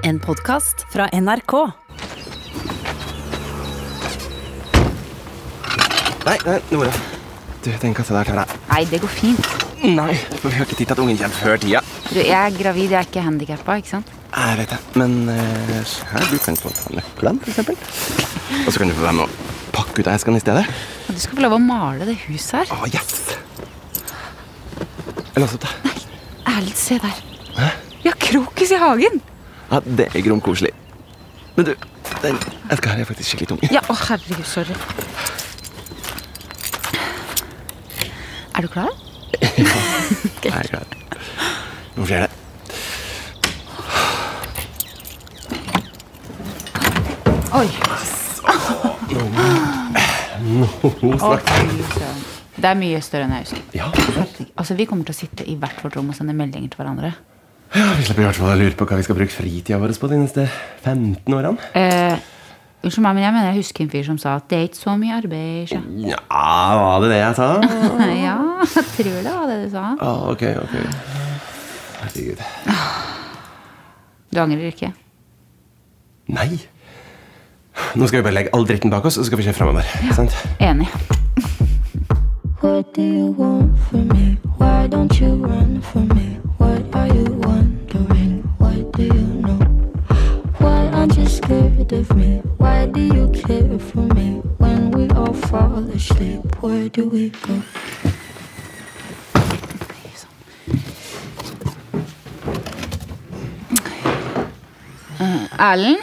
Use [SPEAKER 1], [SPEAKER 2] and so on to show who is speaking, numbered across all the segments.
[SPEAKER 1] En podkast fra NRK.
[SPEAKER 2] Nei, nei, Nora. Du, den kassa der tar jeg.
[SPEAKER 3] Nei, det går fint.
[SPEAKER 2] Nei, for vi har ikke tid til at ungen kommer før tida.
[SPEAKER 3] Du, jeg er gravid, jeg er ikke handikappa, ikke sant?
[SPEAKER 2] Jeg vet det. Men eh, se her, du kan få ta nøklene, for eksempel. Og så kan du få være med å pakke ut eskene i stedet.
[SPEAKER 3] Og du skal få lov å male det huset her.
[SPEAKER 2] Å, yes! Jeg låser opp det.
[SPEAKER 3] Ærlig, se der. Vi har krokus i hagen!
[SPEAKER 2] Ja, det er gromkoselig. Men du, den eska her er faktisk skikkelig tung.
[SPEAKER 3] Ja, å herregud, sorry. Er du klar?
[SPEAKER 2] Jeg er klar. Nå skjer det.
[SPEAKER 3] Oi.
[SPEAKER 2] Nå snakker
[SPEAKER 3] Det er mye større enn jeg husker.
[SPEAKER 2] Ja, sånn. ja,
[SPEAKER 3] Altså, Vi kommer til å sitte i hvert vårt rom og sende meldinger til hverandre.
[SPEAKER 2] Vi slipper i hvert fall å lure på hva vi skal bruke fritida vår på de neste 15 årene.
[SPEAKER 3] Eh, Unnskyld meg, men jeg mener jeg husker en fyr som sa at det er ikke så mye arbeid. Ikke?
[SPEAKER 2] Ja, var det det jeg sa?
[SPEAKER 3] Ja, jeg tror det var det du sa.
[SPEAKER 2] Ja, Ah, ok, ok. Herregud.
[SPEAKER 3] Du angrer ikke?
[SPEAKER 2] Nei. Nå skal vi bare legge all dritten bak oss, og så skal vi se framover. Sant?
[SPEAKER 3] Enig.
[SPEAKER 4] What do you want from me? Why don't you run from me? What are you wondering? What do you know? Why aren't you scared of me? Why do you care for me? When we all fall asleep, where do we go?
[SPEAKER 3] Erlend?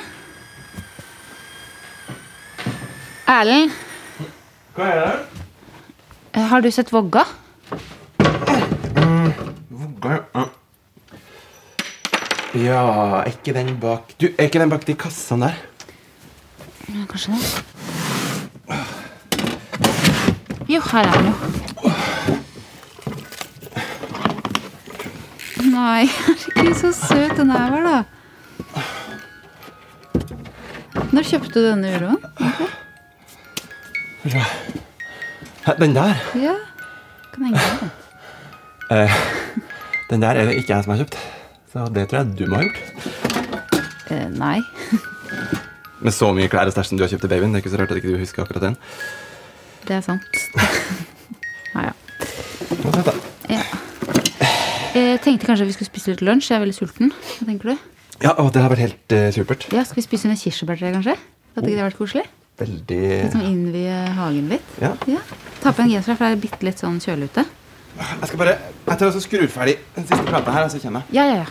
[SPEAKER 3] Erlend,
[SPEAKER 2] Hva er det?
[SPEAKER 3] eh, har du sett Vågga?
[SPEAKER 2] Ja, er ikke den bak Du, er ikke den bak de kassene der?
[SPEAKER 3] Ja, Kanskje det. Jo, her er den jo. Nei, herregud, så søt den her var, da. Når kjøpte du denne uroen?
[SPEAKER 2] Hæ, Den der?
[SPEAKER 3] Ja, kan henge den.
[SPEAKER 2] Den der er det ikke jeg som har kjøpt. Så det tror jeg du må ha gjort.
[SPEAKER 3] Eh, nei.
[SPEAKER 2] Med så mye klær og stæsj som du har kjøpt til babyen, det er ikke så rart at ikke du husker akkurat den.
[SPEAKER 3] Det er sant. Ja, ja.
[SPEAKER 2] Nå tar jeg den.
[SPEAKER 3] Jeg Eh, tenkte kanskje vi skulle spise litt lunsj. Jeg er veldig sulten. Hva tenker du?
[SPEAKER 2] Ja, og det har vært helt eh, supert.
[SPEAKER 3] Ja, Skal vi spise under kirsebærtreet, kanskje? Hadde ikke det vært koselig?
[SPEAKER 2] Veldig
[SPEAKER 3] Som innvie hagen litt.
[SPEAKER 2] Ja.
[SPEAKER 3] Ta på en genser, for det er bitte litt sånn kjølig ute.
[SPEAKER 2] Jeg skal bare Jeg tar også skru ferdig den siste plata her, og så kommer jeg.
[SPEAKER 3] Ja, ja, ja.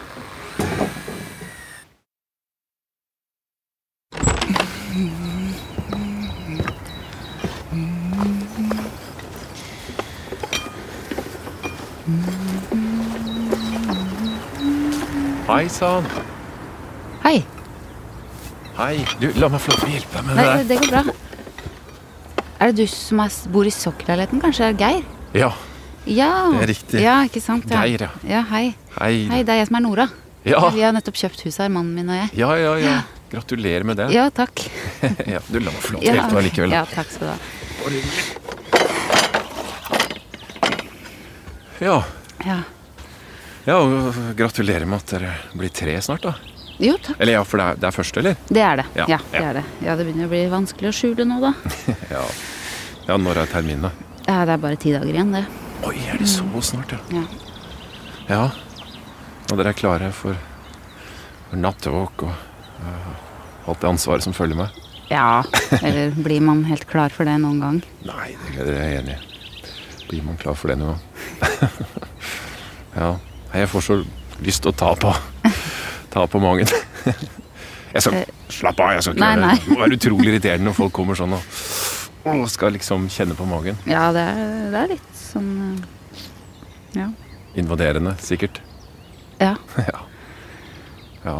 [SPEAKER 5] Hei sann.
[SPEAKER 3] Hei.
[SPEAKER 5] Hei. Du, la meg få lov til å hjelpe deg med
[SPEAKER 3] Nei,
[SPEAKER 5] det
[SPEAKER 3] det går bra. Er det du som er, bor i sokkelleiligheten? Kanskje det er Geir?
[SPEAKER 5] der. Ja.
[SPEAKER 3] Ja.
[SPEAKER 5] Det er riktig.
[SPEAKER 3] Ja, ikke sant?
[SPEAKER 5] Geir, ja.
[SPEAKER 3] ja hei.
[SPEAKER 5] Hei.
[SPEAKER 3] Hei, det er jeg som er Nora.
[SPEAKER 5] Ja.
[SPEAKER 3] Vi har nettopp kjøpt huset her, mannen min og jeg.
[SPEAKER 5] Ja, ja, ja. Gratulerer med det.
[SPEAKER 3] Ja, takk.
[SPEAKER 5] Ja, du, la meg få lov til å
[SPEAKER 3] Ja,
[SPEAKER 5] hjelpe deg likevel.
[SPEAKER 3] ja, takk skal du ha.
[SPEAKER 5] Ja.
[SPEAKER 3] Ja.
[SPEAKER 5] ja, og gratulerer med at dere blir tre snart, da.
[SPEAKER 3] Jo, takk.
[SPEAKER 5] Eller ja, for det er, det er først, eller?
[SPEAKER 3] Det er det.
[SPEAKER 5] Ja,
[SPEAKER 3] Ja, det
[SPEAKER 5] ja.
[SPEAKER 3] er det. Ja, det begynner å bli vanskelig å skjule nå, da.
[SPEAKER 5] Ja. ja når er terminen, da?
[SPEAKER 3] Ja, det er bare ti dager igjen, det.
[SPEAKER 5] Oi, er det så snart, ja?
[SPEAKER 3] Ja.
[SPEAKER 5] Ja. Og dere er klare for, for nattevåk og øh, alt det ansvaret som følger med?
[SPEAKER 3] Ja, eller blir man helt klar for det noen gang?
[SPEAKER 5] Nei, det gleder jeg er enig i. Blir man klar for det nå? ja. Nei, Jeg får så lyst til å ta på Ta på magen. Jeg skal, slapp av, jeg skal ikke
[SPEAKER 3] Nei,
[SPEAKER 5] gjøre
[SPEAKER 3] nei.
[SPEAKER 5] det. Det må være utrolig irriterende når folk kommer sånn og, og skal liksom kjenne på magen.
[SPEAKER 3] Ja, det er, det er litt sånn eh, Ja.
[SPEAKER 5] Invaderende, sikkert.
[SPEAKER 3] ja.
[SPEAKER 5] eh. Ja. ja.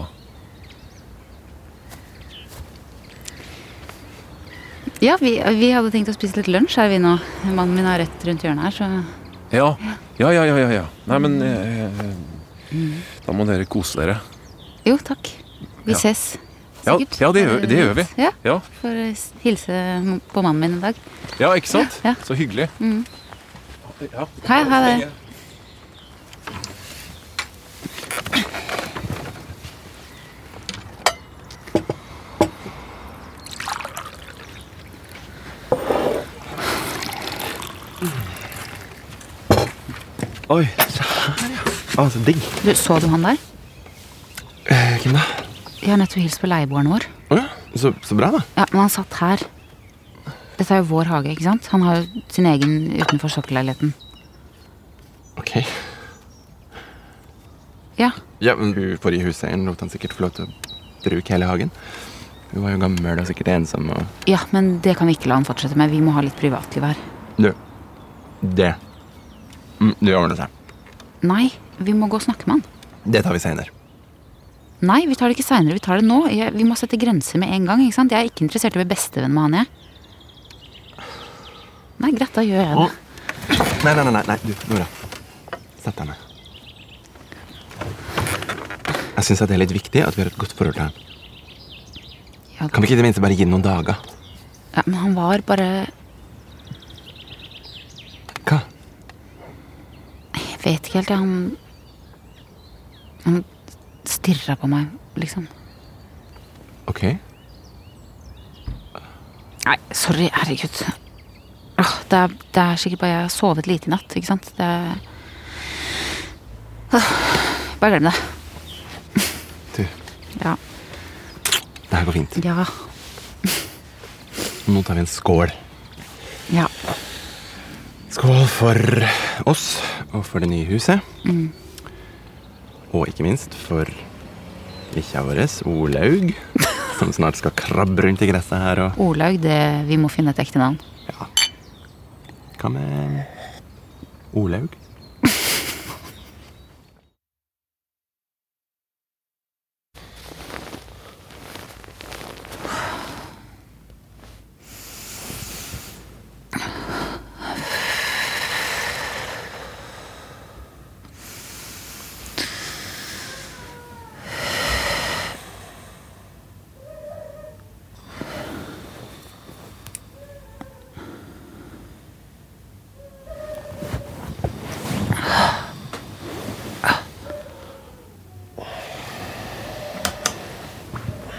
[SPEAKER 3] ja vi, vi hadde tenkt å spise litt lunsj her, vi nå. Mannen min har rett rundt hjørnet her, så
[SPEAKER 5] Ja, ja, ja, ja. ja, ja. Nei, men eh, eh, Da må dere kose dere.
[SPEAKER 3] Jo, takk. Vi
[SPEAKER 5] Ja.
[SPEAKER 3] ses.
[SPEAKER 5] Ja,
[SPEAKER 3] Sikkert.
[SPEAKER 5] ja det, gjør, det gjør vi.
[SPEAKER 3] Ja,
[SPEAKER 5] Ja,
[SPEAKER 3] Får eh, s- hilse på mannen min en dag.
[SPEAKER 5] ja ikke sant?
[SPEAKER 3] Ja.
[SPEAKER 5] Så hyggelig. Ja.
[SPEAKER 3] Hei, hei dere.
[SPEAKER 2] Oi, se her, ja. Ah, så digg.
[SPEAKER 3] Du, så du han der?
[SPEAKER 2] Eh, Hvem da?
[SPEAKER 3] Jeg har nettopp hilst på leieboeren vår.
[SPEAKER 2] Å ja. Så, så bra, da.
[SPEAKER 3] Ja, Men han satt her. Dette er jo vår hage, ikke sant? Han har jo sin egen utenfor sokkelleiligheten.
[SPEAKER 2] Ok.
[SPEAKER 3] Ja.
[SPEAKER 2] Ja, men hun forrige huseieren lot han sikkert få lov til å bruke hele hagen. Hun var jo gammel og sikkert ensom og
[SPEAKER 3] ja, men det kan vi ikke la han fortsette med. Vi må ha litt privatliv her.
[SPEAKER 2] Du, det mm, Det ordner seg.
[SPEAKER 3] Nei, vi må gå og snakke med han.
[SPEAKER 2] Det tar vi senere.
[SPEAKER 3] Nei, vi tar det ikke seinere, vi tar det nå. Jeg, vi må sette grenser med en gang. ikke sant? Jeg er ikke interessert i å bli bestevenn med han, jeg. Nei, greit, da gjør jeg det.
[SPEAKER 2] Nei, nei, nei, nei, nei. du, Nora. Sett deg ned. Jeg syns det er litt viktig at vi har et godt forhold til ham.
[SPEAKER 3] Ja,
[SPEAKER 2] Kan vi ikke i det minste bare gi det noen dager?
[SPEAKER 3] ja, men han var bare
[SPEAKER 2] Hva?
[SPEAKER 3] Jeg vet ikke helt, jeg. Han Han stirra på meg, liksom.
[SPEAKER 2] Ok.
[SPEAKER 3] Nei, sorry, herregud. Åh, det, er, det er sikkert bare jeg har sovet lite i natt, ikke sant? Det er... Åh, Bare glem det.
[SPEAKER 2] Du,
[SPEAKER 3] Ja.
[SPEAKER 2] det her går fint.
[SPEAKER 3] Ja.
[SPEAKER 2] Nå tar vi en skål.
[SPEAKER 3] ja.
[SPEAKER 2] Skål for oss og for det nye huset. Og ikke minst for bikkja vår, Olaug, som snart skal krabbe rundt i gresset her. Og
[SPEAKER 3] Olaug, det, vi må finne et ekte navn.
[SPEAKER 2] hva med eh, Olaug?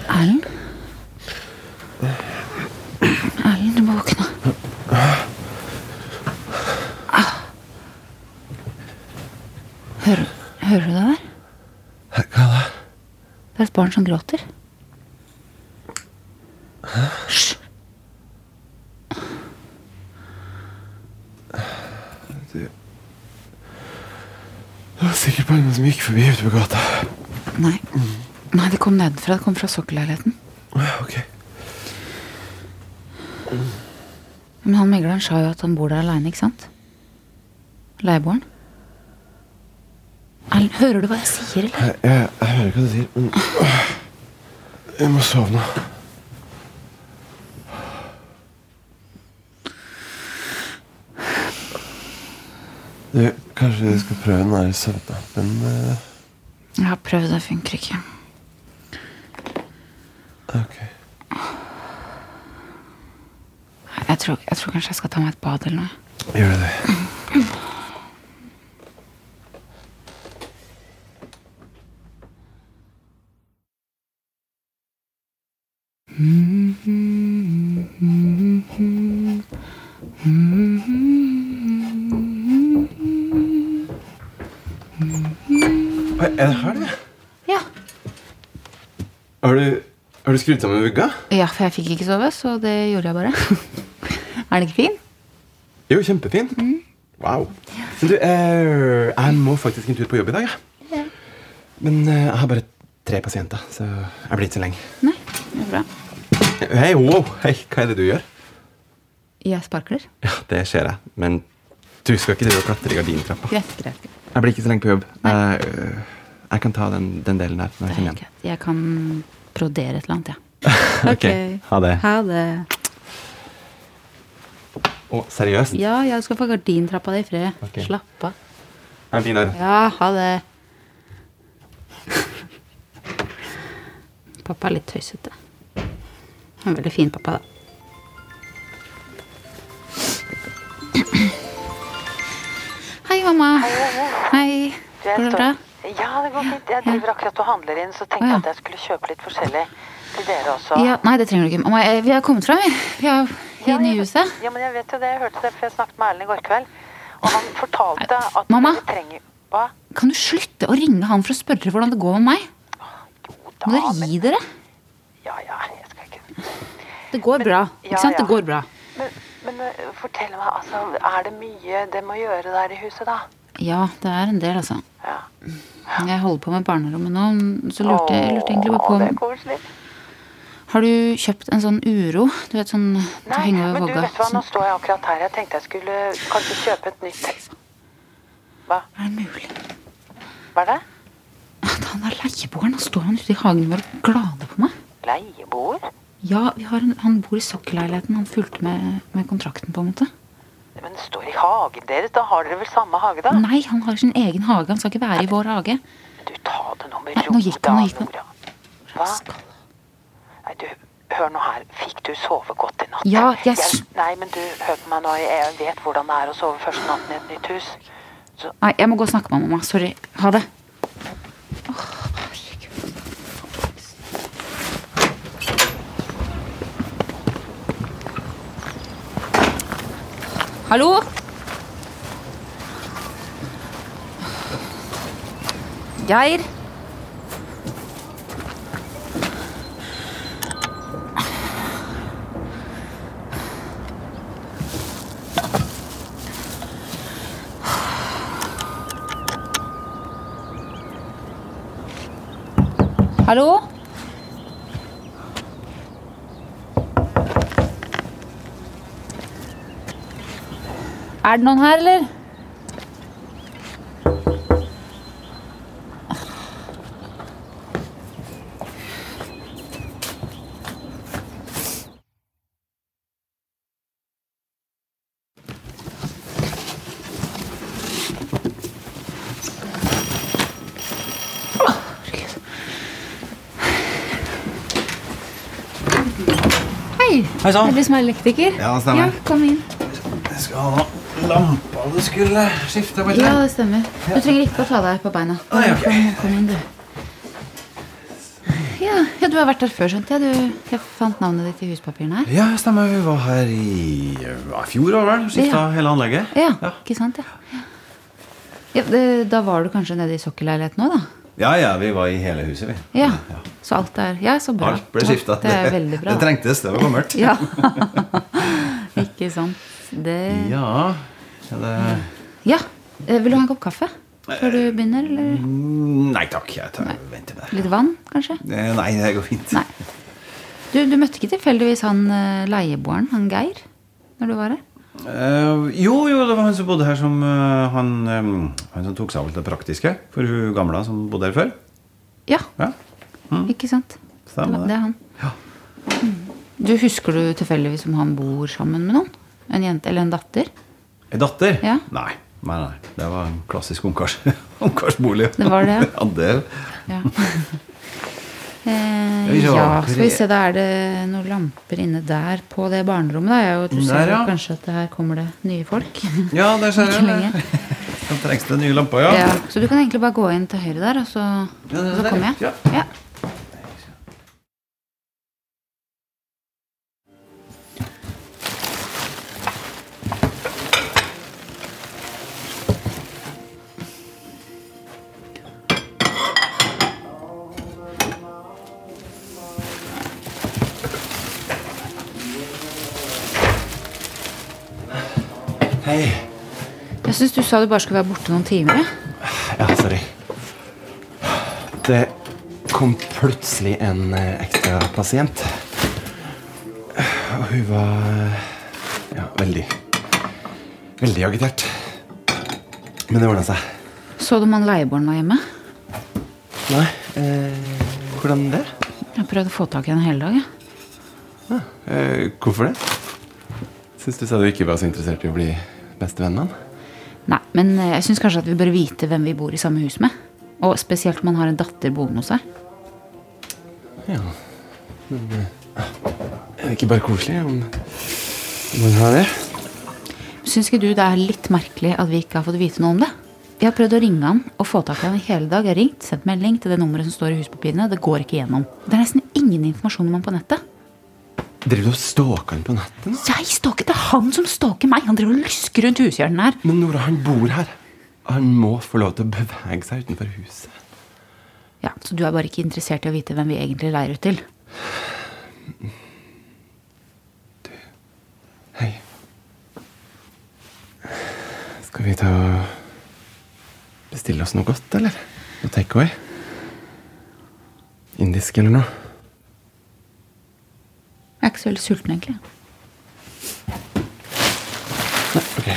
[SPEAKER 3] Erlend? Erlend, du må våkne. Ah. Hører, hører du det der?
[SPEAKER 2] Hva da?
[SPEAKER 3] Det er et barn som gråter. Hysj!
[SPEAKER 2] Det var sikkert bare noen som gikk forbi ute på gata.
[SPEAKER 3] Nei. Nei, det kom nedenfra. Det kom fra sokkelleiligheten.
[SPEAKER 2] Ok.
[SPEAKER 3] Men han megleren sa jo at han bor der aleine, ikke sant? Leieboeren. Erlend, hører du hva jeg sier, eller?
[SPEAKER 2] Jeg, jeg, jeg hører hva du sier, men jeg må sove nå.
[SPEAKER 6] Du, kanskje vi skal prøve den der søvnappen eh,
[SPEAKER 3] Jeg har prøvd, det funker ikke.
[SPEAKER 6] Ok.
[SPEAKER 3] Jeg tror, jeg tror kanskje jeg skal ta meg et bad eller noe.
[SPEAKER 6] Gjør du det?
[SPEAKER 2] Hva er det her, det?
[SPEAKER 3] Ja.
[SPEAKER 2] Har du, har du skrudd sammen vugga?
[SPEAKER 3] ja, for jeg fikk ikke sove, så det gjorde jeg bare. er den ikke fin?
[SPEAKER 2] Jo, kjempefin. Wow. Men du, eh, jeg må faktisk en tur på jobb i dag, jeg. Men eh, jeg har bare tre pasienter, så jeg blir ikke så lenge.
[SPEAKER 3] Nei, det er bra.
[SPEAKER 2] Hei, wow. Hei, hva er det du gjør?
[SPEAKER 3] Jeg sparkler.
[SPEAKER 2] Ja, det ser jeg, men du skal ikke drive og klatre i gardintrappa.
[SPEAKER 3] Greit, greit. greit.
[SPEAKER 2] Jeg blir ikke så lenge på jobb. Jeg, øh, jeg kan ta den, den delen der når jeg kommer hjem.
[SPEAKER 3] greit. Jeg kan brodere et eller annet, jeg.
[SPEAKER 2] Ok, Ha det.
[SPEAKER 3] Ha det.
[SPEAKER 2] Å, seriøst?
[SPEAKER 3] Ja, jeg skal få gardintrappa di i fred.
[SPEAKER 2] Ok.
[SPEAKER 3] Slapp av.
[SPEAKER 2] Er den fin der?
[SPEAKER 3] Ja, ha det. pappa er litt tøysete. Han er veldig fin pappa, da. Hei, mamma. Hei. Går det bra?
[SPEAKER 7] Ja, det går fint. Jeg driver akkurat og handler inn, så tenkte
[SPEAKER 3] Å, ja.
[SPEAKER 7] jeg at jeg skulle kjøpe litt forskjellig til dere også.
[SPEAKER 3] Ja, nei, det trenger du ikke. Mamma, jeg- vi har kommet fram, vi. Vi er
[SPEAKER 7] Ja,
[SPEAKER 3] inne i
[SPEAKER 7] jeg-
[SPEAKER 3] huset.
[SPEAKER 7] Ja, men jeg vet jo det. Jeg hørte det, for jeg snakket med Erlend i går kveld. Og han fortalte at
[SPEAKER 3] Mamma?
[SPEAKER 7] dere trenger Hva?
[SPEAKER 3] Kan du slutte å ringe han for å spørre hvordan det går med meg?
[SPEAKER 7] Jo
[SPEAKER 3] Må
[SPEAKER 7] da,
[SPEAKER 3] dere
[SPEAKER 7] men
[SPEAKER 3] gi dere?
[SPEAKER 7] Ja, ja, jeg skal ikke
[SPEAKER 8] Det går bra. Ikke
[SPEAKER 7] ja,
[SPEAKER 8] sant? Det
[SPEAKER 7] ja.
[SPEAKER 8] går bra.
[SPEAKER 7] Men, men eh, fortell meg, altså, er det mye det må gjøre der i huset, da?
[SPEAKER 3] Ja, det er en del, altså.
[SPEAKER 7] Ja.
[SPEAKER 3] Jeg holder på med barnerommet nå, så lurte jeg lurte egentlig bare
[SPEAKER 7] Åh, Det er
[SPEAKER 3] på om
[SPEAKER 7] koselig.
[SPEAKER 3] Har du kjøpt en sånn uro? Du vet sånn til å
[SPEAKER 7] Nei,
[SPEAKER 3] henge
[SPEAKER 7] men
[SPEAKER 3] over
[SPEAKER 7] du,
[SPEAKER 3] vogga?
[SPEAKER 7] vet du hva, nå
[SPEAKER 3] Sånn.
[SPEAKER 7] står jeg akkurat her. Jeg tenkte jeg skulle kanskje kjøpe et nytt Hva?
[SPEAKER 3] Sånn- Er det mulig?
[SPEAKER 7] Hva er det?
[SPEAKER 3] At han er leieboeren, og står han ute i hagen vår og glader på meg?
[SPEAKER 7] Leieboer?
[SPEAKER 3] Ja, vi har en, han bor i sokkelleiligheten. Han fulgte med, med kontrakten, på en måte.
[SPEAKER 7] Men det står i hagen deres. Da har dere vel samme hage, da?
[SPEAKER 3] Nei, han har sin egen hage. Han skal ikke være i vår hage.
[SPEAKER 7] Men du, ta det nå med
[SPEAKER 3] Nei,
[SPEAKER 7] ro,
[SPEAKER 3] nå gikk
[SPEAKER 7] da,
[SPEAKER 3] han, nå gikk han.
[SPEAKER 7] Nora. Hva? Nei, du, hør nå her. Fikk du sove godt i natt?
[SPEAKER 3] Ja, jeg s-
[SPEAKER 7] Nei, men du, hør på meg nå. Jeg vet hvordan det er å sove første natten i et nytt hus. Så
[SPEAKER 3] Nei, jeg må gå og snakke med mamma. Sorry. Ha det. Hallo? Geir? Hallo? Er det noen her, eller? Hei!
[SPEAKER 2] Hei
[SPEAKER 3] Er
[SPEAKER 2] sann.
[SPEAKER 3] du som er elektriker?
[SPEAKER 2] Ja, det stemmer.
[SPEAKER 3] kom inn.
[SPEAKER 2] Jeg skal ha lampa du skulle skifte på.
[SPEAKER 3] Ja, det stemmer. Du trenger ikke å ta deg på beina. Kom,
[SPEAKER 2] Nei, ok.
[SPEAKER 3] kom, kom inn, du. Ja, ja, du har vært der før, skjønte jeg. Du, jeg fant navnet ditt i huspapirene her.
[SPEAKER 2] Ja, stemmer. Vi var her i ja, fjor var det vel? Skifta
[SPEAKER 3] Ja.
[SPEAKER 2] hele anlegget.
[SPEAKER 3] Ja,
[SPEAKER 2] Ja.
[SPEAKER 3] ikke sant? Ja. Ja, det, da var du kanskje nede i sokkelleiligheten òg, da?
[SPEAKER 2] ja, ja, vi var i hele huset, vi.
[SPEAKER 3] Ja. Så alt er Ja, så bra.
[SPEAKER 2] Alt ble skifta.
[SPEAKER 3] Det er veldig bra.
[SPEAKER 2] det trengtes. Det var gammelt.
[SPEAKER 3] Ja. ikke sant. Det
[SPEAKER 2] ja. ja det...
[SPEAKER 3] Ja. eh, Vil du ha en kopp kaffe før du begynner, eller
[SPEAKER 2] Mm, Nei takk. Jeg tar, venter med det.
[SPEAKER 3] litt vann, kanskje?
[SPEAKER 2] Eh, Nei, det går fint.
[SPEAKER 3] Nei. Du, du møtte ikke tilfeldigvis han eh, leieboeren, han Geir, når du var her?
[SPEAKER 2] Eh, jo, jo, det var han som bodde her som eh, han, eh, han som tok seg av alt det praktiske for hun gamla som bodde her før.
[SPEAKER 3] Ja,
[SPEAKER 2] Ja,
[SPEAKER 3] ikke sant? Det,
[SPEAKER 2] stemmer
[SPEAKER 3] var, det
[SPEAKER 2] det.
[SPEAKER 3] er han. Mm. Du Husker du tilfeldigvis om han bor sammen med noen? En jente eller en datter?
[SPEAKER 2] En datter?
[SPEAKER 3] Ja.
[SPEAKER 2] Nei, nei, nei. Det var en klassisk ungkars, ungkarsbolig.
[SPEAKER 3] Det var det,
[SPEAKER 2] ja. det-
[SPEAKER 3] Ja. Eh,
[SPEAKER 2] vi se.
[SPEAKER 3] ja, skal vi se, da er det noen lamper inne der på det barnerommet. Da. Jeg, du
[SPEAKER 2] Der,
[SPEAKER 3] ser jo
[SPEAKER 2] ja.
[SPEAKER 3] kanskje at det her kommer det nye folk.
[SPEAKER 2] Ja, der ser
[SPEAKER 3] Ikke
[SPEAKER 2] jeg
[SPEAKER 3] lenge.
[SPEAKER 2] det. Da trengs det nye lamper, ja.
[SPEAKER 3] Ja, så du kan egentlig bare gå inn til høyre der, og så,
[SPEAKER 2] Ja, det-
[SPEAKER 3] og så
[SPEAKER 2] der,
[SPEAKER 3] kommer
[SPEAKER 2] ja.
[SPEAKER 3] jeg. Ja.
[SPEAKER 2] Hei.
[SPEAKER 3] Jeg syns du sa du bare skulle være borte noen timer. jeg.
[SPEAKER 2] Ja, sorry. Det kom plutselig en eh, ekstra pasient. Og hun var eh, ja, veldig Veldig agitert. Men det ordna seg.
[SPEAKER 3] Så du om han leieboeren var hjemme?
[SPEAKER 2] Nei, eh, hvordan det?
[SPEAKER 3] Jeg prøvde å få tak i henne hele dag. jeg.
[SPEAKER 2] Eh, hvorfor det?
[SPEAKER 5] Syns du sa du ikke var så interessert i å bli
[SPEAKER 2] Bestevennen hans?
[SPEAKER 3] Nei, men eh, jeg syns kanskje at vi bør vite hvem vi bor i samme hus med. Og spesielt om han har en datter boende hos seg.
[SPEAKER 2] Er det ikke bare koselig om om hun har det?
[SPEAKER 3] Syns ikke du det er litt merkelig at vi ikke har fått vite noe om det? Jeg har prøvd å ringe han og få tak i han i hele dag. Jeg har ringt, sendt melding til det nummeret som står i huspapirene. Det går ikke gjennom. Det er nesten ingen informasjon om han på nettet.
[SPEAKER 2] Driver du og stalker han på natten? da?
[SPEAKER 3] Jeg stalker Det er han som stalker meg! Han driver og lusker rundt hushjørnen her.
[SPEAKER 2] Men Nora, han bor her. Han må få lov til å bevege seg utenfor huset.
[SPEAKER 3] Ja, Så du er bare ikke interessert i å vite hvem vi egentlig leier ut til?
[SPEAKER 2] Hei. Skal vi ta og bestille oss noe godt, eller? Noe takeaway? Indisk eller noe?
[SPEAKER 3] Jeg er ikke så veldig sulten, egentlig.
[SPEAKER 2] Nei, ok.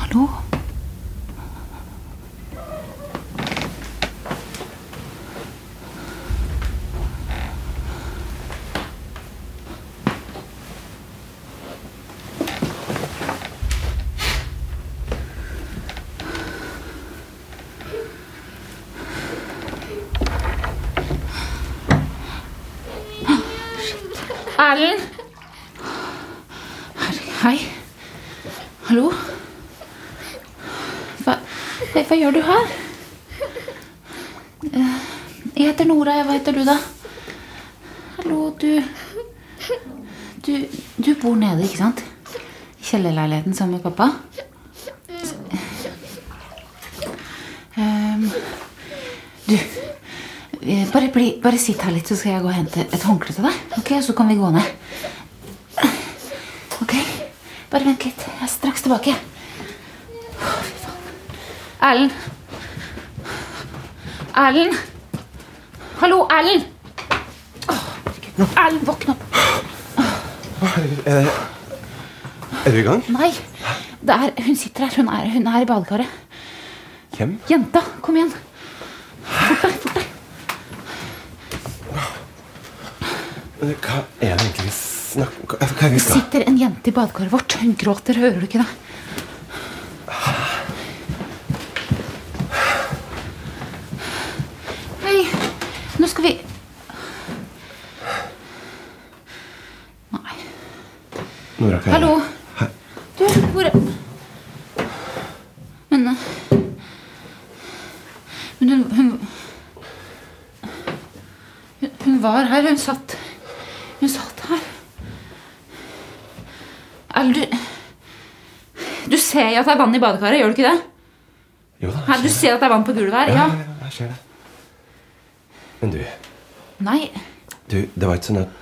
[SPEAKER 3] Hallo? Erlend! Herre- Hei. Hallo? Hva, hva, hva gjør du her? Eh, Jeg heter Nora. Hva heter du, da? Hallo, du Du, du bor nede, ikke sant? I kjellerleiligheten sammen med pappa? S- Ehm, du eh, bare, bli, bare sitt her litt, så skal jeg gå og hente et håndkle til deg. Ok, Så kan vi gå ned. Ok, Bare vent litt. Jeg er straks tilbake. Erlend. Erlend. Hallo, Erlend. Åh, herregud. Erlend, våkn opp.
[SPEAKER 2] Er, det, er du i gang?
[SPEAKER 3] Nei, det er, hun sitter her. Hun er, hun er i badekaret.
[SPEAKER 2] Hvem?
[SPEAKER 3] Jenta, kom igjen. Fort deg, fort deg.
[SPEAKER 2] Eh, Hva er det egentlig vi snakker Hva hva er det
[SPEAKER 3] Det
[SPEAKER 2] vi skal
[SPEAKER 3] sitter en jente i badekaret vårt. Hun gråter, hører du ikke det? Hei, nå skal vi Nei.
[SPEAKER 2] Nora, hva er det?
[SPEAKER 3] Hallo. Du, hvor er Men eh, Men hun hun, hun hun var her. Hun satt Hun satt her. Erlend, du Du ser jo at det er vann i badekaret, gjør du ikke det?
[SPEAKER 2] Jo da,
[SPEAKER 3] Her, du ser at det er vann på gulvet her?
[SPEAKER 2] ja,
[SPEAKER 3] Ja.
[SPEAKER 2] ja, jeg ser det. Men du,
[SPEAKER 3] Nei.
[SPEAKER 2] du, det var ikke sånn at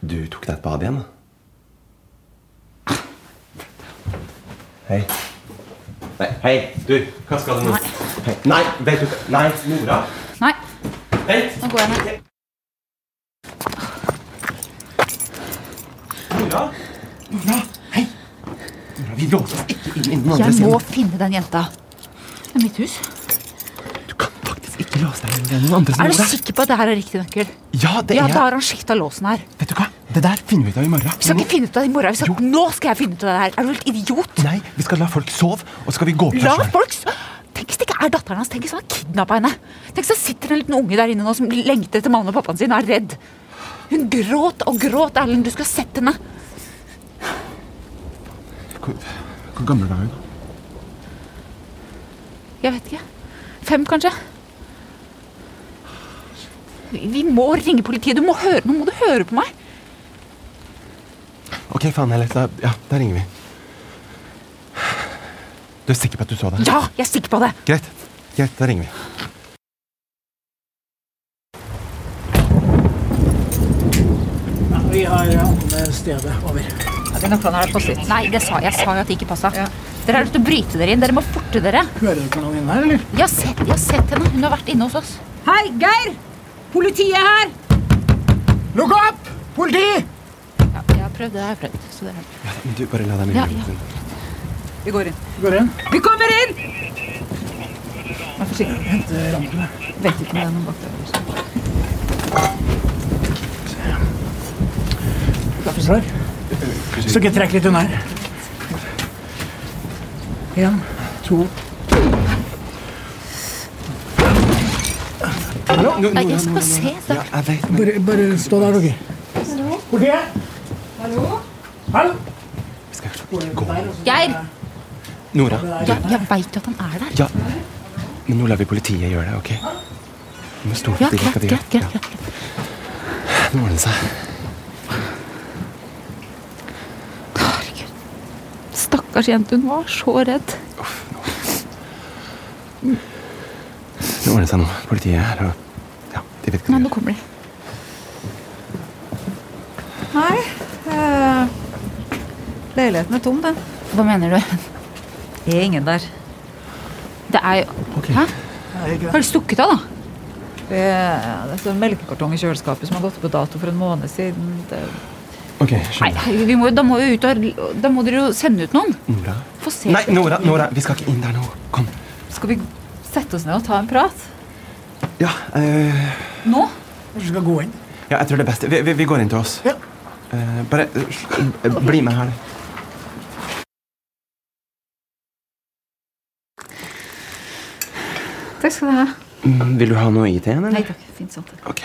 [SPEAKER 2] du tok deg et bad igjen? da? Hei. Nei, hei, du, hva skal du nå? Hei. Nei, vet du hva? Nei, Nora.
[SPEAKER 3] Nei,
[SPEAKER 2] Vent!
[SPEAKER 3] nå går jeg ned.
[SPEAKER 2] Nora! Nora, hei! Nora, vi låser oss ikke inn i noen
[SPEAKER 3] Jeg
[SPEAKER 2] andres
[SPEAKER 3] må
[SPEAKER 2] hjem.
[SPEAKER 3] finne den jenta. Det er mitt hus.
[SPEAKER 2] Du kan faktisk ikke låse deg inn i noen andres
[SPEAKER 3] Er du
[SPEAKER 2] Nora.
[SPEAKER 3] sikker på at det her er riktig nøkkel?
[SPEAKER 2] Ja, det
[SPEAKER 3] Ja,
[SPEAKER 2] er
[SPEAKER 3] da har han skifta låsen her.
[SPEAKER 2] Vet du hva? Det der finner vi ut av i morgen.
[SPEAKER 3] Vi skal ikke finne ut av det i morgen. Vi skal, nå skal jeg finne ut av det her. Er du helt idiot?
[SPEAKER 2] Nei, vi skal la folk sove, og så skal vi gå opp
[SPEAKER 3] La
[SPEAKER 2] her selv.
[SPEAKER 3] folk s- Tenk hvis det ikke er datteren hans. Tenk hvis han har kidnappa henne. Tenk hvis det sitter en liten unge der inne nå som lengter etter mammaen og pappaen sin og er redd. Hun gråt og gråt, Erlend. Du skulle ha sett henne.
[SPEAKER 2] Hvor, hvor gammel var hun?
[SPEAKER 3] Jeg vet ikke. Fem, kanskje? Vi vi må ringe politiet. Du må høre. Nå må du høre på meg.
[SPEAKER 2] Ok, faen heller. Da, ja, da ringer vi. Du er sikker på at du så det?
[SPEAKER 3] Ja, jeg er sikker på det.
[SPEAKER 2] Greit. Greit, da ringer vi.
[SPEAKER 8] Vi har andre stedet. Over.
[SPEAKER 3] Nei, det sa jeg. Jeg sa jo at det ikke passa. Dere er nødt til å bryte dere inn. Dere må forte dere.
[SPEAKER 8] Hører dere noen inn her, eller?
[SPEAKER 3] Jeg har sett, jeg har sett henne. Hun har vært inne hos oss.
[SPEAKER 9] Hei, Geir! Politiet her!
[SPEAKER 8] Lukk opp! Politi!
[SPEAKER 3] Ja, jeg har prøvd, det har jeg prøvd. Så det er
[SPEAKER 2] Men du, bare la dem inn.
[SPEAKER 3] Ja, ja.
[SPEAKER 9] Vi går inn.
[SPEAKER 8] Går inn.
[SPEAKER 9] Vi kommer inn! Vær forsiktig.
[SPEAKER 8] Hente rammene.
[SPEAKER 9] Vet ikke om det er noen bak der. også.
[SPEAKER 8] Derfor så her. Så ikke trekk litt unna her. En, to.
[SPEAKER 3] Nei, jeg skal se.
[SPEAKER 2] Ja, jeg vet, men
[SPEAKER 8] Bare, bare stå der, dere. Hallo? Hallo?
[SPEAKER 2] vi skal ikke gå.
[SPEAKER 3] Geir!
[SPEAKER 2] Nora,
[SPEAKER 3] Ja, jeg veit jo at han er der.
[SPEAKER 2] ja. Men nå lar vi politiet gjøre det, ok? Du må stole
[SPEAKER 3] Ja,
[SPEAKER 2] på de
[SPEAKER 3] greit,
[SPEAKER 2] rekka de
[SPEAKER 3] greit,
[SPEAKER 2] gjør.
[SPEAKER 3] greit,
[SPEAKER 2] Ja,
[SPEAKER 3] greit.
[SPEAKER 2] nå ordner det seg.
[SPEAKER 3] Herregud. Stakkars jente, hun var så redd.
[SPEAKER 2] Det ordner seg nå. Politiet er her, og ja, de vet hva
[SPEAKER 3] Nei,
[SPEAKER 2] de
[SPEAKER 3] nå
[SPEAKER 2] gjør.
[SPEAKER 3] kommer de.
[SPEAKER 9] Nei. eh, leiligheten er tom, den.
[SPEAKER 3] Hva mener du?
[SPEAKER 9] Det er ingen der.
[SPEAKER 3] Det er jo Hæ? Har du stukket av, da?
[SPEAKER 9] Det, det står en melkekartong i kjøleskapet som har gått på dato for en måned siden. Det,
[SPEAKER 2] Ok,
[SPEAKER 3] Nei,
[SPEAKER 2] skjønner.
[SPEAKER 3] herregud, vi må, jo- da må vi ut og Da må dere jo sende ut noen.
[SPEAKER 2] Nora.
[SPEAKER 3] Få se.
[SPEAKER 2] Nei, Nora, Nora, vi skal ikke inn der nå. Kom.
[SPEAKER 9] skal vi sette oss ned og ta en prat?
[SPEAKER 2] Ja, eh,
[SPEAKER 9] Nå?
[SPEAKER 8] Kanskje vi skal gå inn.
[SPEAKER 2] ja jeg tror det er best. Vi, vi, vi går inn til oss.
[SPEAKER 8] Ja.
[SPEAKER 2] Eh, bare eh, sl- eh, bli med her.
[SPEAKER 9] Takk skal du ha.
[SPEAKER 2] Mm, vil du ha noe i teen,
[SPEAKER 9] Nei
[SPEAKER 2] eller?
[SPEAKER 9] takk. Fint sånt.
[SPEAKER 2] Ok.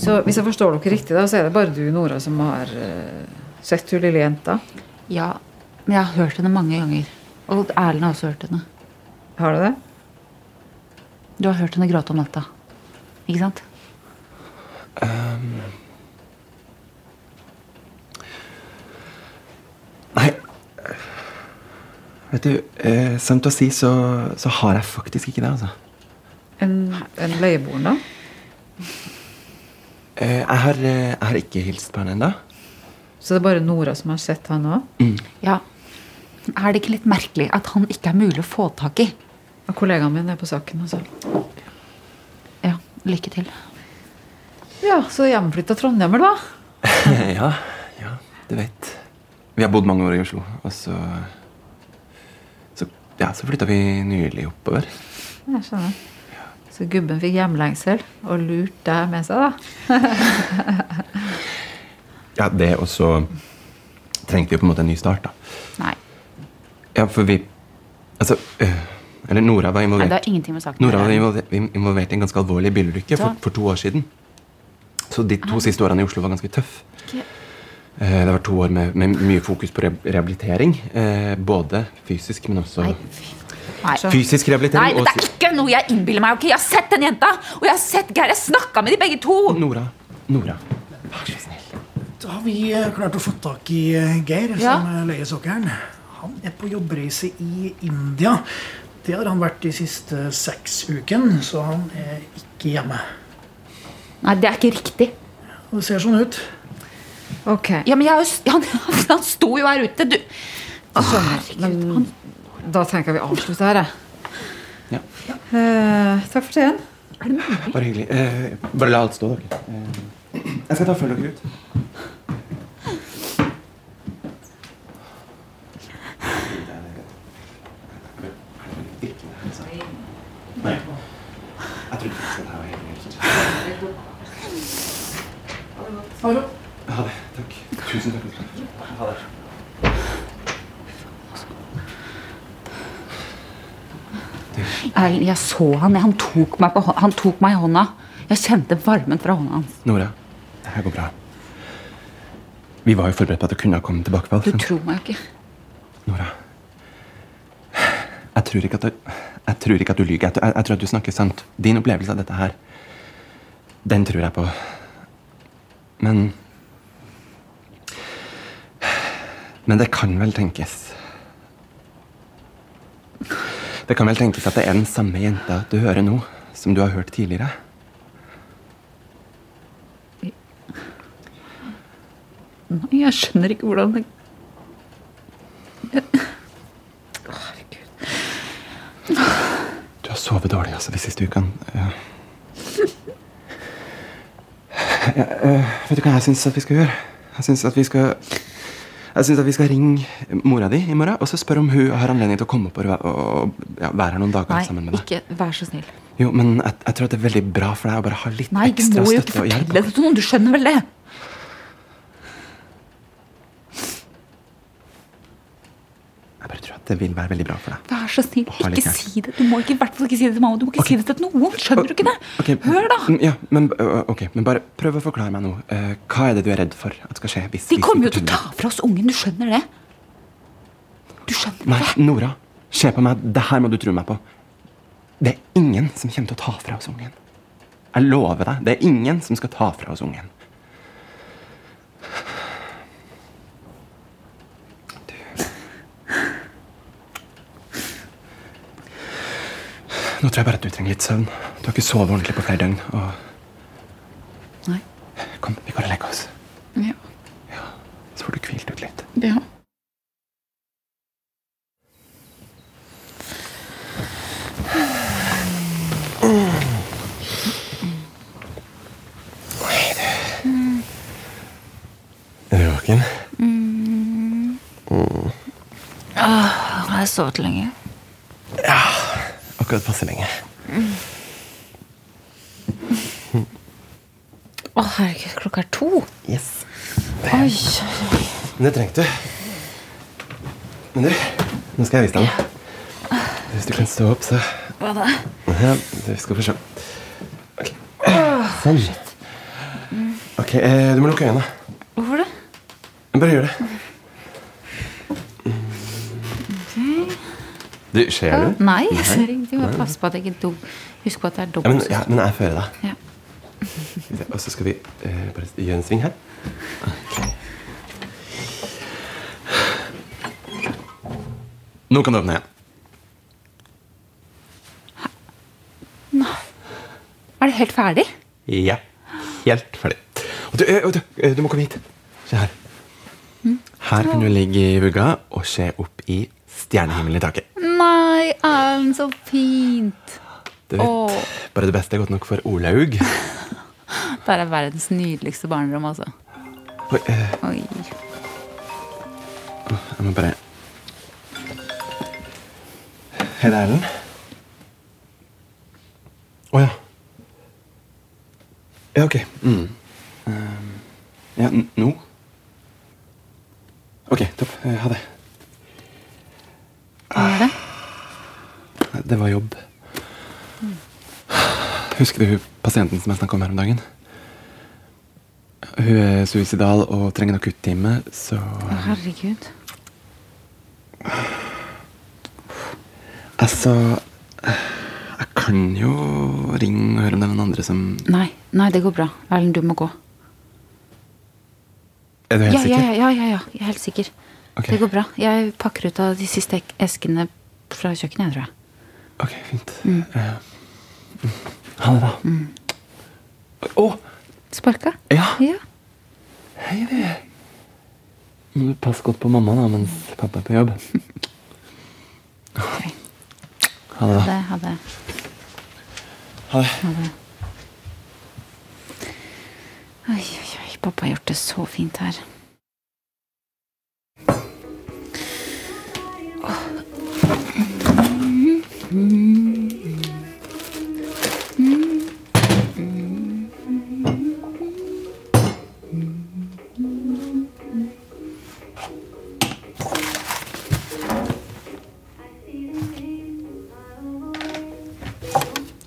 [SPEAKER 9] Så hvis jeg forstår dere riktig, da, så er det bare du, Nora, som har eh, sett hun lille jenta?
[SPEAKER 3] Ja, men jeg har hørt henne mange ganger. Og Erlend har også hørt henne.
[SPEAKER 9] Har du det?
[SPEAKER 3] Du har hørt henne gråte om natta. Ikke sant?
[SPEAKER 2] Nei. Vet du, eh, sant å si så, så har jeg faktisk ikke det, altså.
[SPEAKER 9] En, en leieboer, da?
[SPEAKER 2] Eh, jeg, har, eh, jeg har ikke hilst på henne ennå.
[SPEAKER 9] Så det er bare Nora som har sett han òg?
[SPEAKER 3] Ja. Men er det ikke litt merkelig at han ikke er mulig å få tak i?
[SPEAKER 9] Og kollegaen min er på saken, altså.
[SPEAKER 3] Ja, lykke til.
[SPEAKER 9] Ja, så hjemflytta trondhjemmer, da?
[SPEAKER 2] ja, ja, du vet. Vi har bodd mange år i Oslo, og så Så, ja, så flytta vi nylig oppover.
[SPEAKER 9] Jeg skjønner. Så gubben fikk hjemlengsel og lurt deg med seg, da?
[SPEAKER 2] Ja, det, og så trengte vi på en måte en ny start, da.
[SPEAKER 3] Nei,
[SPEAKER 2] Ja, for vi Altså øh, Eller Nora var
[SPEAKER 3] nei det
[SPEAKER 2] involvert.
[SPEAKER 3] har ingenting med saken
[SPEAKER 2] Nora var involvert, involvert i en ganske alvorlig bilulykke for, for to år siden. Så de
[SPEAKER 3] Ah.
[SPEAKER 2] to siste årene i Oslo var ganske tøff.
[SPEAKER 3] Ikke-
[SPEAKER 2] Eh, Det var to år med, med mye fokus på re- rehabilitering. eh, Både fysisk, men også
[SPEAKER 3] Nei, fy. Nei.
[SPEAKER 2] Fysisk
[SPEAKER 3] Nei,
[SPEAKER 2] rehabilitering og
[SPEAKER 3] dette er ikke noe jeg innbiller meg. ok? Jeg har sett den jenta, og jeg har sett Geir. Jeg snakka med de begge to.
[SPEAKER 2] psy- Nora. Nora. Vær så snill.
[SPEAKER 8] Da har vi eh, klart å få tak i eh, Geir,
[SPEAKER 3] Ja.
[SPEAKER 8] som eh, leier sokkelen. Han er på jobbreise i India. Det har han vært de siste seks ukene, så han er ikke hjemme.
[SPEAKER 3] Nei, det er ikke riktig.
[SPEAKER 8] Det ser sånn ut.
[SPEAKER 9] Ok,
[SPEAKER 3] Ja, men jeg har jo, s- han, han sto jo her ute. Du.
[SPEAKER 9] men da tenker jeg vi avslutter her, jeg.
[SPEAKER 2] Ja.
[SPEAKER 9] Eh, takk for teen.
[SPEAKER 2] Bare hyggelig. Eh, Bare la alt stå, dere. Eh, Jeg skal ta og følge dere ut. Nei. Jeg trodde faktisk at det her var helt vilt. Ha det. Takk. Tusen takk. Ha det.
[SPEAKER 3] Erlend, jeg så han. Han tok meg, på, hå- han tok meg i hånda. Jeg kjente varmen fra hånda hans.
[SPEAKER 2] Nora, det her går bra. Vi var jo forberedt på at det kunne ha kommet tilbakefall.
[SPEAKER 3] Du
[SPEAKER 2] sant?
[SPEAKER 3] tror meg jo ikke.
[SPEAKER 2] Nora. Jeg tror ikke at du, jeg tror ikke at du lyver. Jeg, jeg, jeg tror at du snakker sant. Din opplevelse av dette her, den tror jeg på. Men Men det kan vel tenkes Det kan vel tenkes at det er den samme jenta du hører nå, som du har hørt tidligere.
[SPEAKER 3] Nei, jeg skjønner ikke hvordan det
[SPEAKER 2] Du har sovet dårlig altså, de siste ukene. Ja. Ja, eh, vet du hva jeg syns at vi skal gjøre? Jeg syns at vi skal jeg synes at vi skal ringe mora di i morgen og så spørre om hun har anledning til å komme opp og, væ- og ja, være her noen dager sammen med
[SPEAKER 3] Nei,
[SPEAKER 2] deg.
[SPEAKER 3] ikke vær så snill.
[SPEAKER 2] Jo, men jeg, jeg tror at det er veldig bra for deg å bare ha litt
[SPEAKER 3] Nei, du
[SPEAKER 2] ekstra
[SPEAKER 3] må jo ikke
[SPEAKER 2] støtte og hjelp.
[SPEAKER 3] fortelle det til noen. Du skjønner vel det?
[SPEAKER 2] Jeg bare tror at det vil være veldig bra for deg.
[SPEAKER 3] Vær så snill,
[SPEAKER 2] Ha litt
[SPEAKER 3] ikke
[SPEAKER 2] hjelp.
[SPEAKER 3] si det. Du må ikke, i hvert fall ikke si det til mamma. Du må ikke si det til noen. Skjønner du ikke det?
[SPEAKER 2] Ok,
[SPEAKER 3] Hør, da.
[SPEAKER 2] mm, Ja, men, ø, ok, men bare prøv å forklare meg nå. Eh, hva er det du er redd for at skal skje? hvis
[SPEAKER 3] De
[SPEAKER 2] hvis
[SPEAKER 3] kommer jo
[SPEAKER 2] vi
[SPEAKER 3] til å ta fra oss ungen. Du skjønner det? Du skjønner
[SPEAKER 2] Nei,
[SPEAKER 3] det?
[SPEAKER 2] Nora. Se på meg. Det her må du tro meg på. Det er ingen som kommer til å ta fra oss ungen. Jeg lover deg. Det er ingen som skal ta fra oss ungen. Du. Nå tror jeg bare at du trenger litt søvn. Du har ikke sovet ordentlig på flere døgn. Og
[SPEAKER 3] Nei.
[SPEAKER 2] kom, vi går og legger oss.
[SPEAKER 3] Ja.
[SPEAKER 2] Så får du hvilt ut litt.
[SPEAKER 3] Ja.
[SPEAKER 1] Er du våken?
[SPEAKER 3] Mm.
[SPEAKER 1] Mm.
[SPEAKER 3] Ah, Har jeg sovet lenge?
[SPEAKER 1] Akkurat passe lenge.
[SPEAKER 3] Å, herregud, klokka er to.
[SPEAKER 1] Yes.
[SPEAKER 3] Oi.
[SPEAKER 1] Men det trengte du. Men du, nå skal jeg vise deg noe. Hvis du kan stå opp, så
[SPEAKER 3] Hva da?
[SPEAKER 1] ja, Du skal få se. Ok. Sånn. Ok, eh, du må lukke øynene.
[SPEAKER 3] Hvorfor det?
[SPEAKER 1] Bare gjør det. Du, ser du?
[SPEAKER 3] Nei, jeg ser ingenting. Bare pass på at jeg ikke do... Husk på at det er
[SPEAKER 1] Ja, men,
[SPEAKER 3] dobbelt.
[SPEAKER 1] ja, men jeg fører deg.
[SPEAKER 3] Ja.
[SPEAKER 1] Skal vi se, Og så skal vi eh, bare gjøre en sving her.
[SPEAKER 2] Nå kan du åpne igjen.
[SPEAKER 3] Er det helt ferdig?
[SPEAKER 2] Ja. Helt ferdig. Og du, ø, og du, ø, du må komme hit. Se her. Her kan du ligge i vugga og se opp i stjernehimmelen i taket.
[SPEAKER 3] Nei, Erlend, så fint.
[SPEAKER 2] Du vet,
[SPEAKER 3] Åh.
[SPEAKER 2] Bare det beste er godt nok for Olaug.
[SPEAKER 3] Det er verdens nydeligste barnerom, altså.
[SPEAKER 2] Oi, ø,
[SPEAKER 3] Oi.
[SPEAKER 2] jeg må bare Hei, det er Erlend. Å ja. Ja, ok. Mm. Ehm, ja, n- nå? Ok, topp. Eh, Ha det.
[SPEAKER 3] Hva er det?
[SPEAKER 2] Nei, Ah, Det var jobb. Husker du hun pasienten som jeg snakka om her om dagen? Hun er suicidal og trenger en akuttime, så
[SPEAKER 3] Å, Herregud.
[SPEAKER 2] Altså Jeg kan jo ringe og høre om det er noen andre som
[SPEAKER 3] Nei, nei, det går bra. Erlend, du må gå.
[SPEAKER 2] Er du helt
[SPEAKER 3] Ja, ja,
[SPEAKER 2] sikker?
[SPEAKER 3] ja, ja, ja, ja. Jeg er helt sikker.
[SPEAKER 2] Ok.
[SPEAKER 3] Det går bra. Jeg pakker ut av de siste ek- eskene fra kjøkkenet, jeg tror jeg.
[SPEAKER 2] Ok, fint. Eh, mm. Ha det, da. Å!
[SPEAKER 3] Mm. Sparka?
[SPEAKER 2] Ja.
[SPEAKER 3] ja.
[SPEAKER 2] hei, du. Må du passe godt på mamma da, mens pappa er på jobb. Ha det, da.
[SPEAKER 3] Det hadde jeg.
[SPEAKER 2] Ha det.
[SPEAKER 3] Oi, oi, oi. Pappa har gjort det så fint her.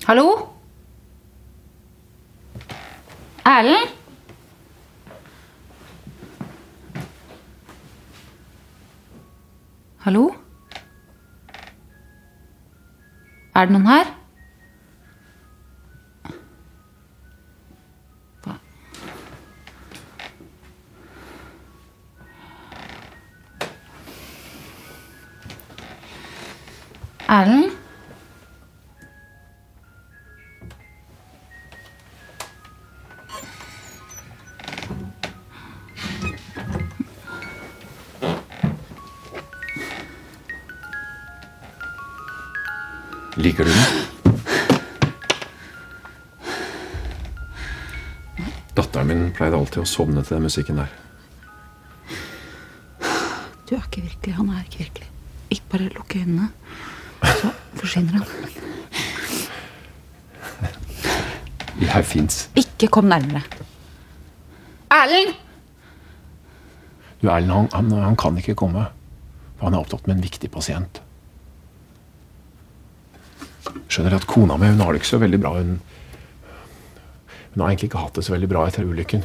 [SPEAKER 3] Hallo? Erlend? Hallo? Er det noen her? Hva? Erlend?
[SPEAKER 5] Liker du den? Datteren min pleide alltid å sovne til den musikken der.
[SPEAKER 3] Du er ikke virkelig. Han er ikke virkelig. Ikke bare lukk øynene, så forsvinner han.
[SPEAKER 5] Jeg fins.
[SPEAKER 3] Ikke kom nærmere. Erlend!
[SPEAKER 5] Du, Erlend, han, han, han kan ikke komme. For han er opptatt med en viktig pasient. Skjønner at kona mi hun har det ikke så veldig bra. Hun, hun har egentlig ikke hatt det så veldig bra etter ulykken.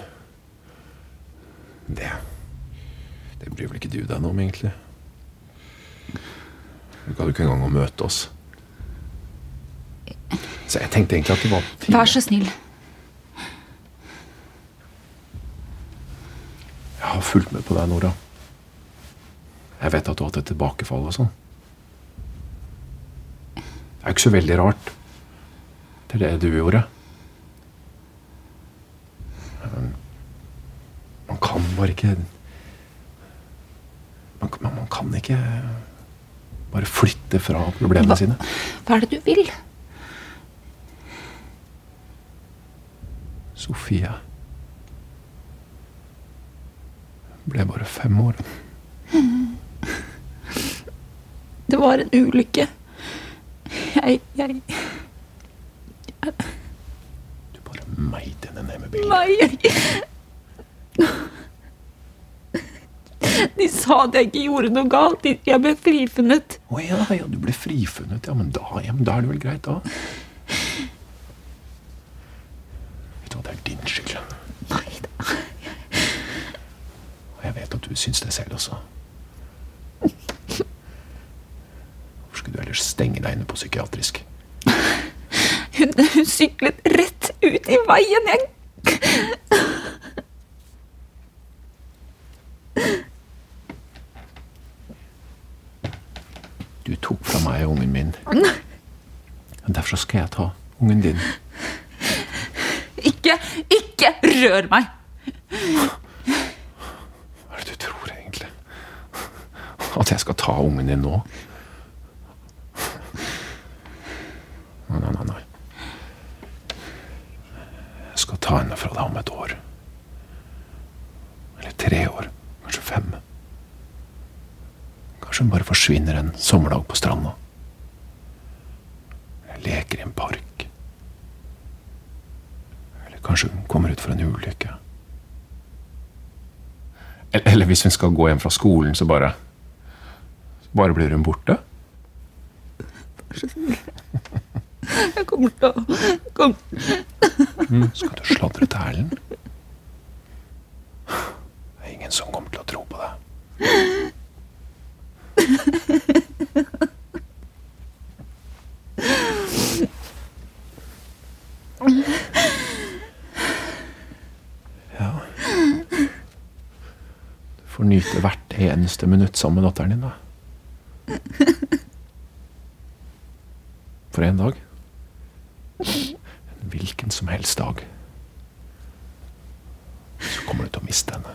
[SPEAKER 5] Det Det bryr vel ikke du deg noe om, egentlig? Du gadd jo ikke engang å møte oss. Så jeg tenkte egentlig at det var
[SPEAKER 3] Vær så snill.
[SPEAKER 5] Jeg har fulgt med på deg, Nora. Jeg vet at du har hatt et tilbakefall og sånn. Det er jo ikke så veldig rart. Det er det du gjorde. Men Man kan bare ikke Man, man, man kan ikke bare flytte fra problemene sine.
[SPEAKER 3] Hva er det du vil?
[SPEAKER 5] Sofie ble bare fem år.
[SPEAKER 3] Det var en ulykke. Jeg, jeg
[SPEAKER 5] Du bare meid henne ned med bilen.
[SPEAKER 3] Nei, jeg De sa at jeg ikke gjorde noe galt. De- Jeg ble frifunnet.
[SPEAKER 5] Å ja, ja, du ble frifunnet. Ja, men da, ja, men da er det vel greit, da. Vet du hva, det er din skyld.
[SPEAKER 3] Nei da.
[SPEAKER 5] Og jeg vet at du syns det selv også. Hvorfor skulle du ellers stenge deg inne på psykiatrisk?
[SPEAKER 3] Hun, hun syklet rett ut i veien. Jeg
[SPEAKER 5] Du tok fra meg ungen min. Men Derfor så skal jeg ta ungen din.
[SPEAKER 3] Ikke, ikke rør meg!
[SPEAKER 5] Hva er det du tror, egentlig? At jeg skal ta ungen din nå? Nei, nei, nei. nei. Jeg skal ta henne fra deg om et år. Eller tre år. Kanskje fem. Kanskje hun bare forsvinner en sommerdag på stranda. Eller leker i en park. Eller kanskje hun kommer ut for en ulykke. El- Eller hvis hun skal gå hjem fra skolen, så bare så Bare blir hun borte?
[SPEAKER 3] Jeg kommer til å kom.
[SPEAKER 5] Mm, Skal du sladre til Erlend? Det er ingen som kommer til å tro på deg. Ja Du får nyte hvert eneste minutt sammen med datteren din, da. For en dag. En hvilken som helst dag. Så kommer du til å miste henne.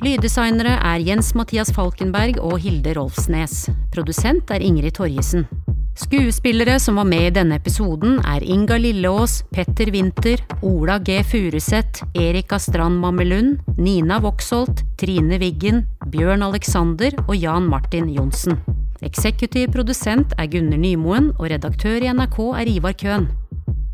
[SPEAKER 1] Lyddesignere er Jens Mathias Falkenberg og Hilde Rolfsnes. Produsent er Ingrid Torjesen. Skuespillere som var med i denne episoden er Inga Lilleås, Petter Winther, Ola G. Furuseth, Erika Strand Mammelund, Nina Voksholt, Trine Wiggen, Bjørn Alexander og Jan Martin Johnsen. Eksekutiv produsent er Gunnar Nymoen, og redaktør i NRK er Ivar Køhn.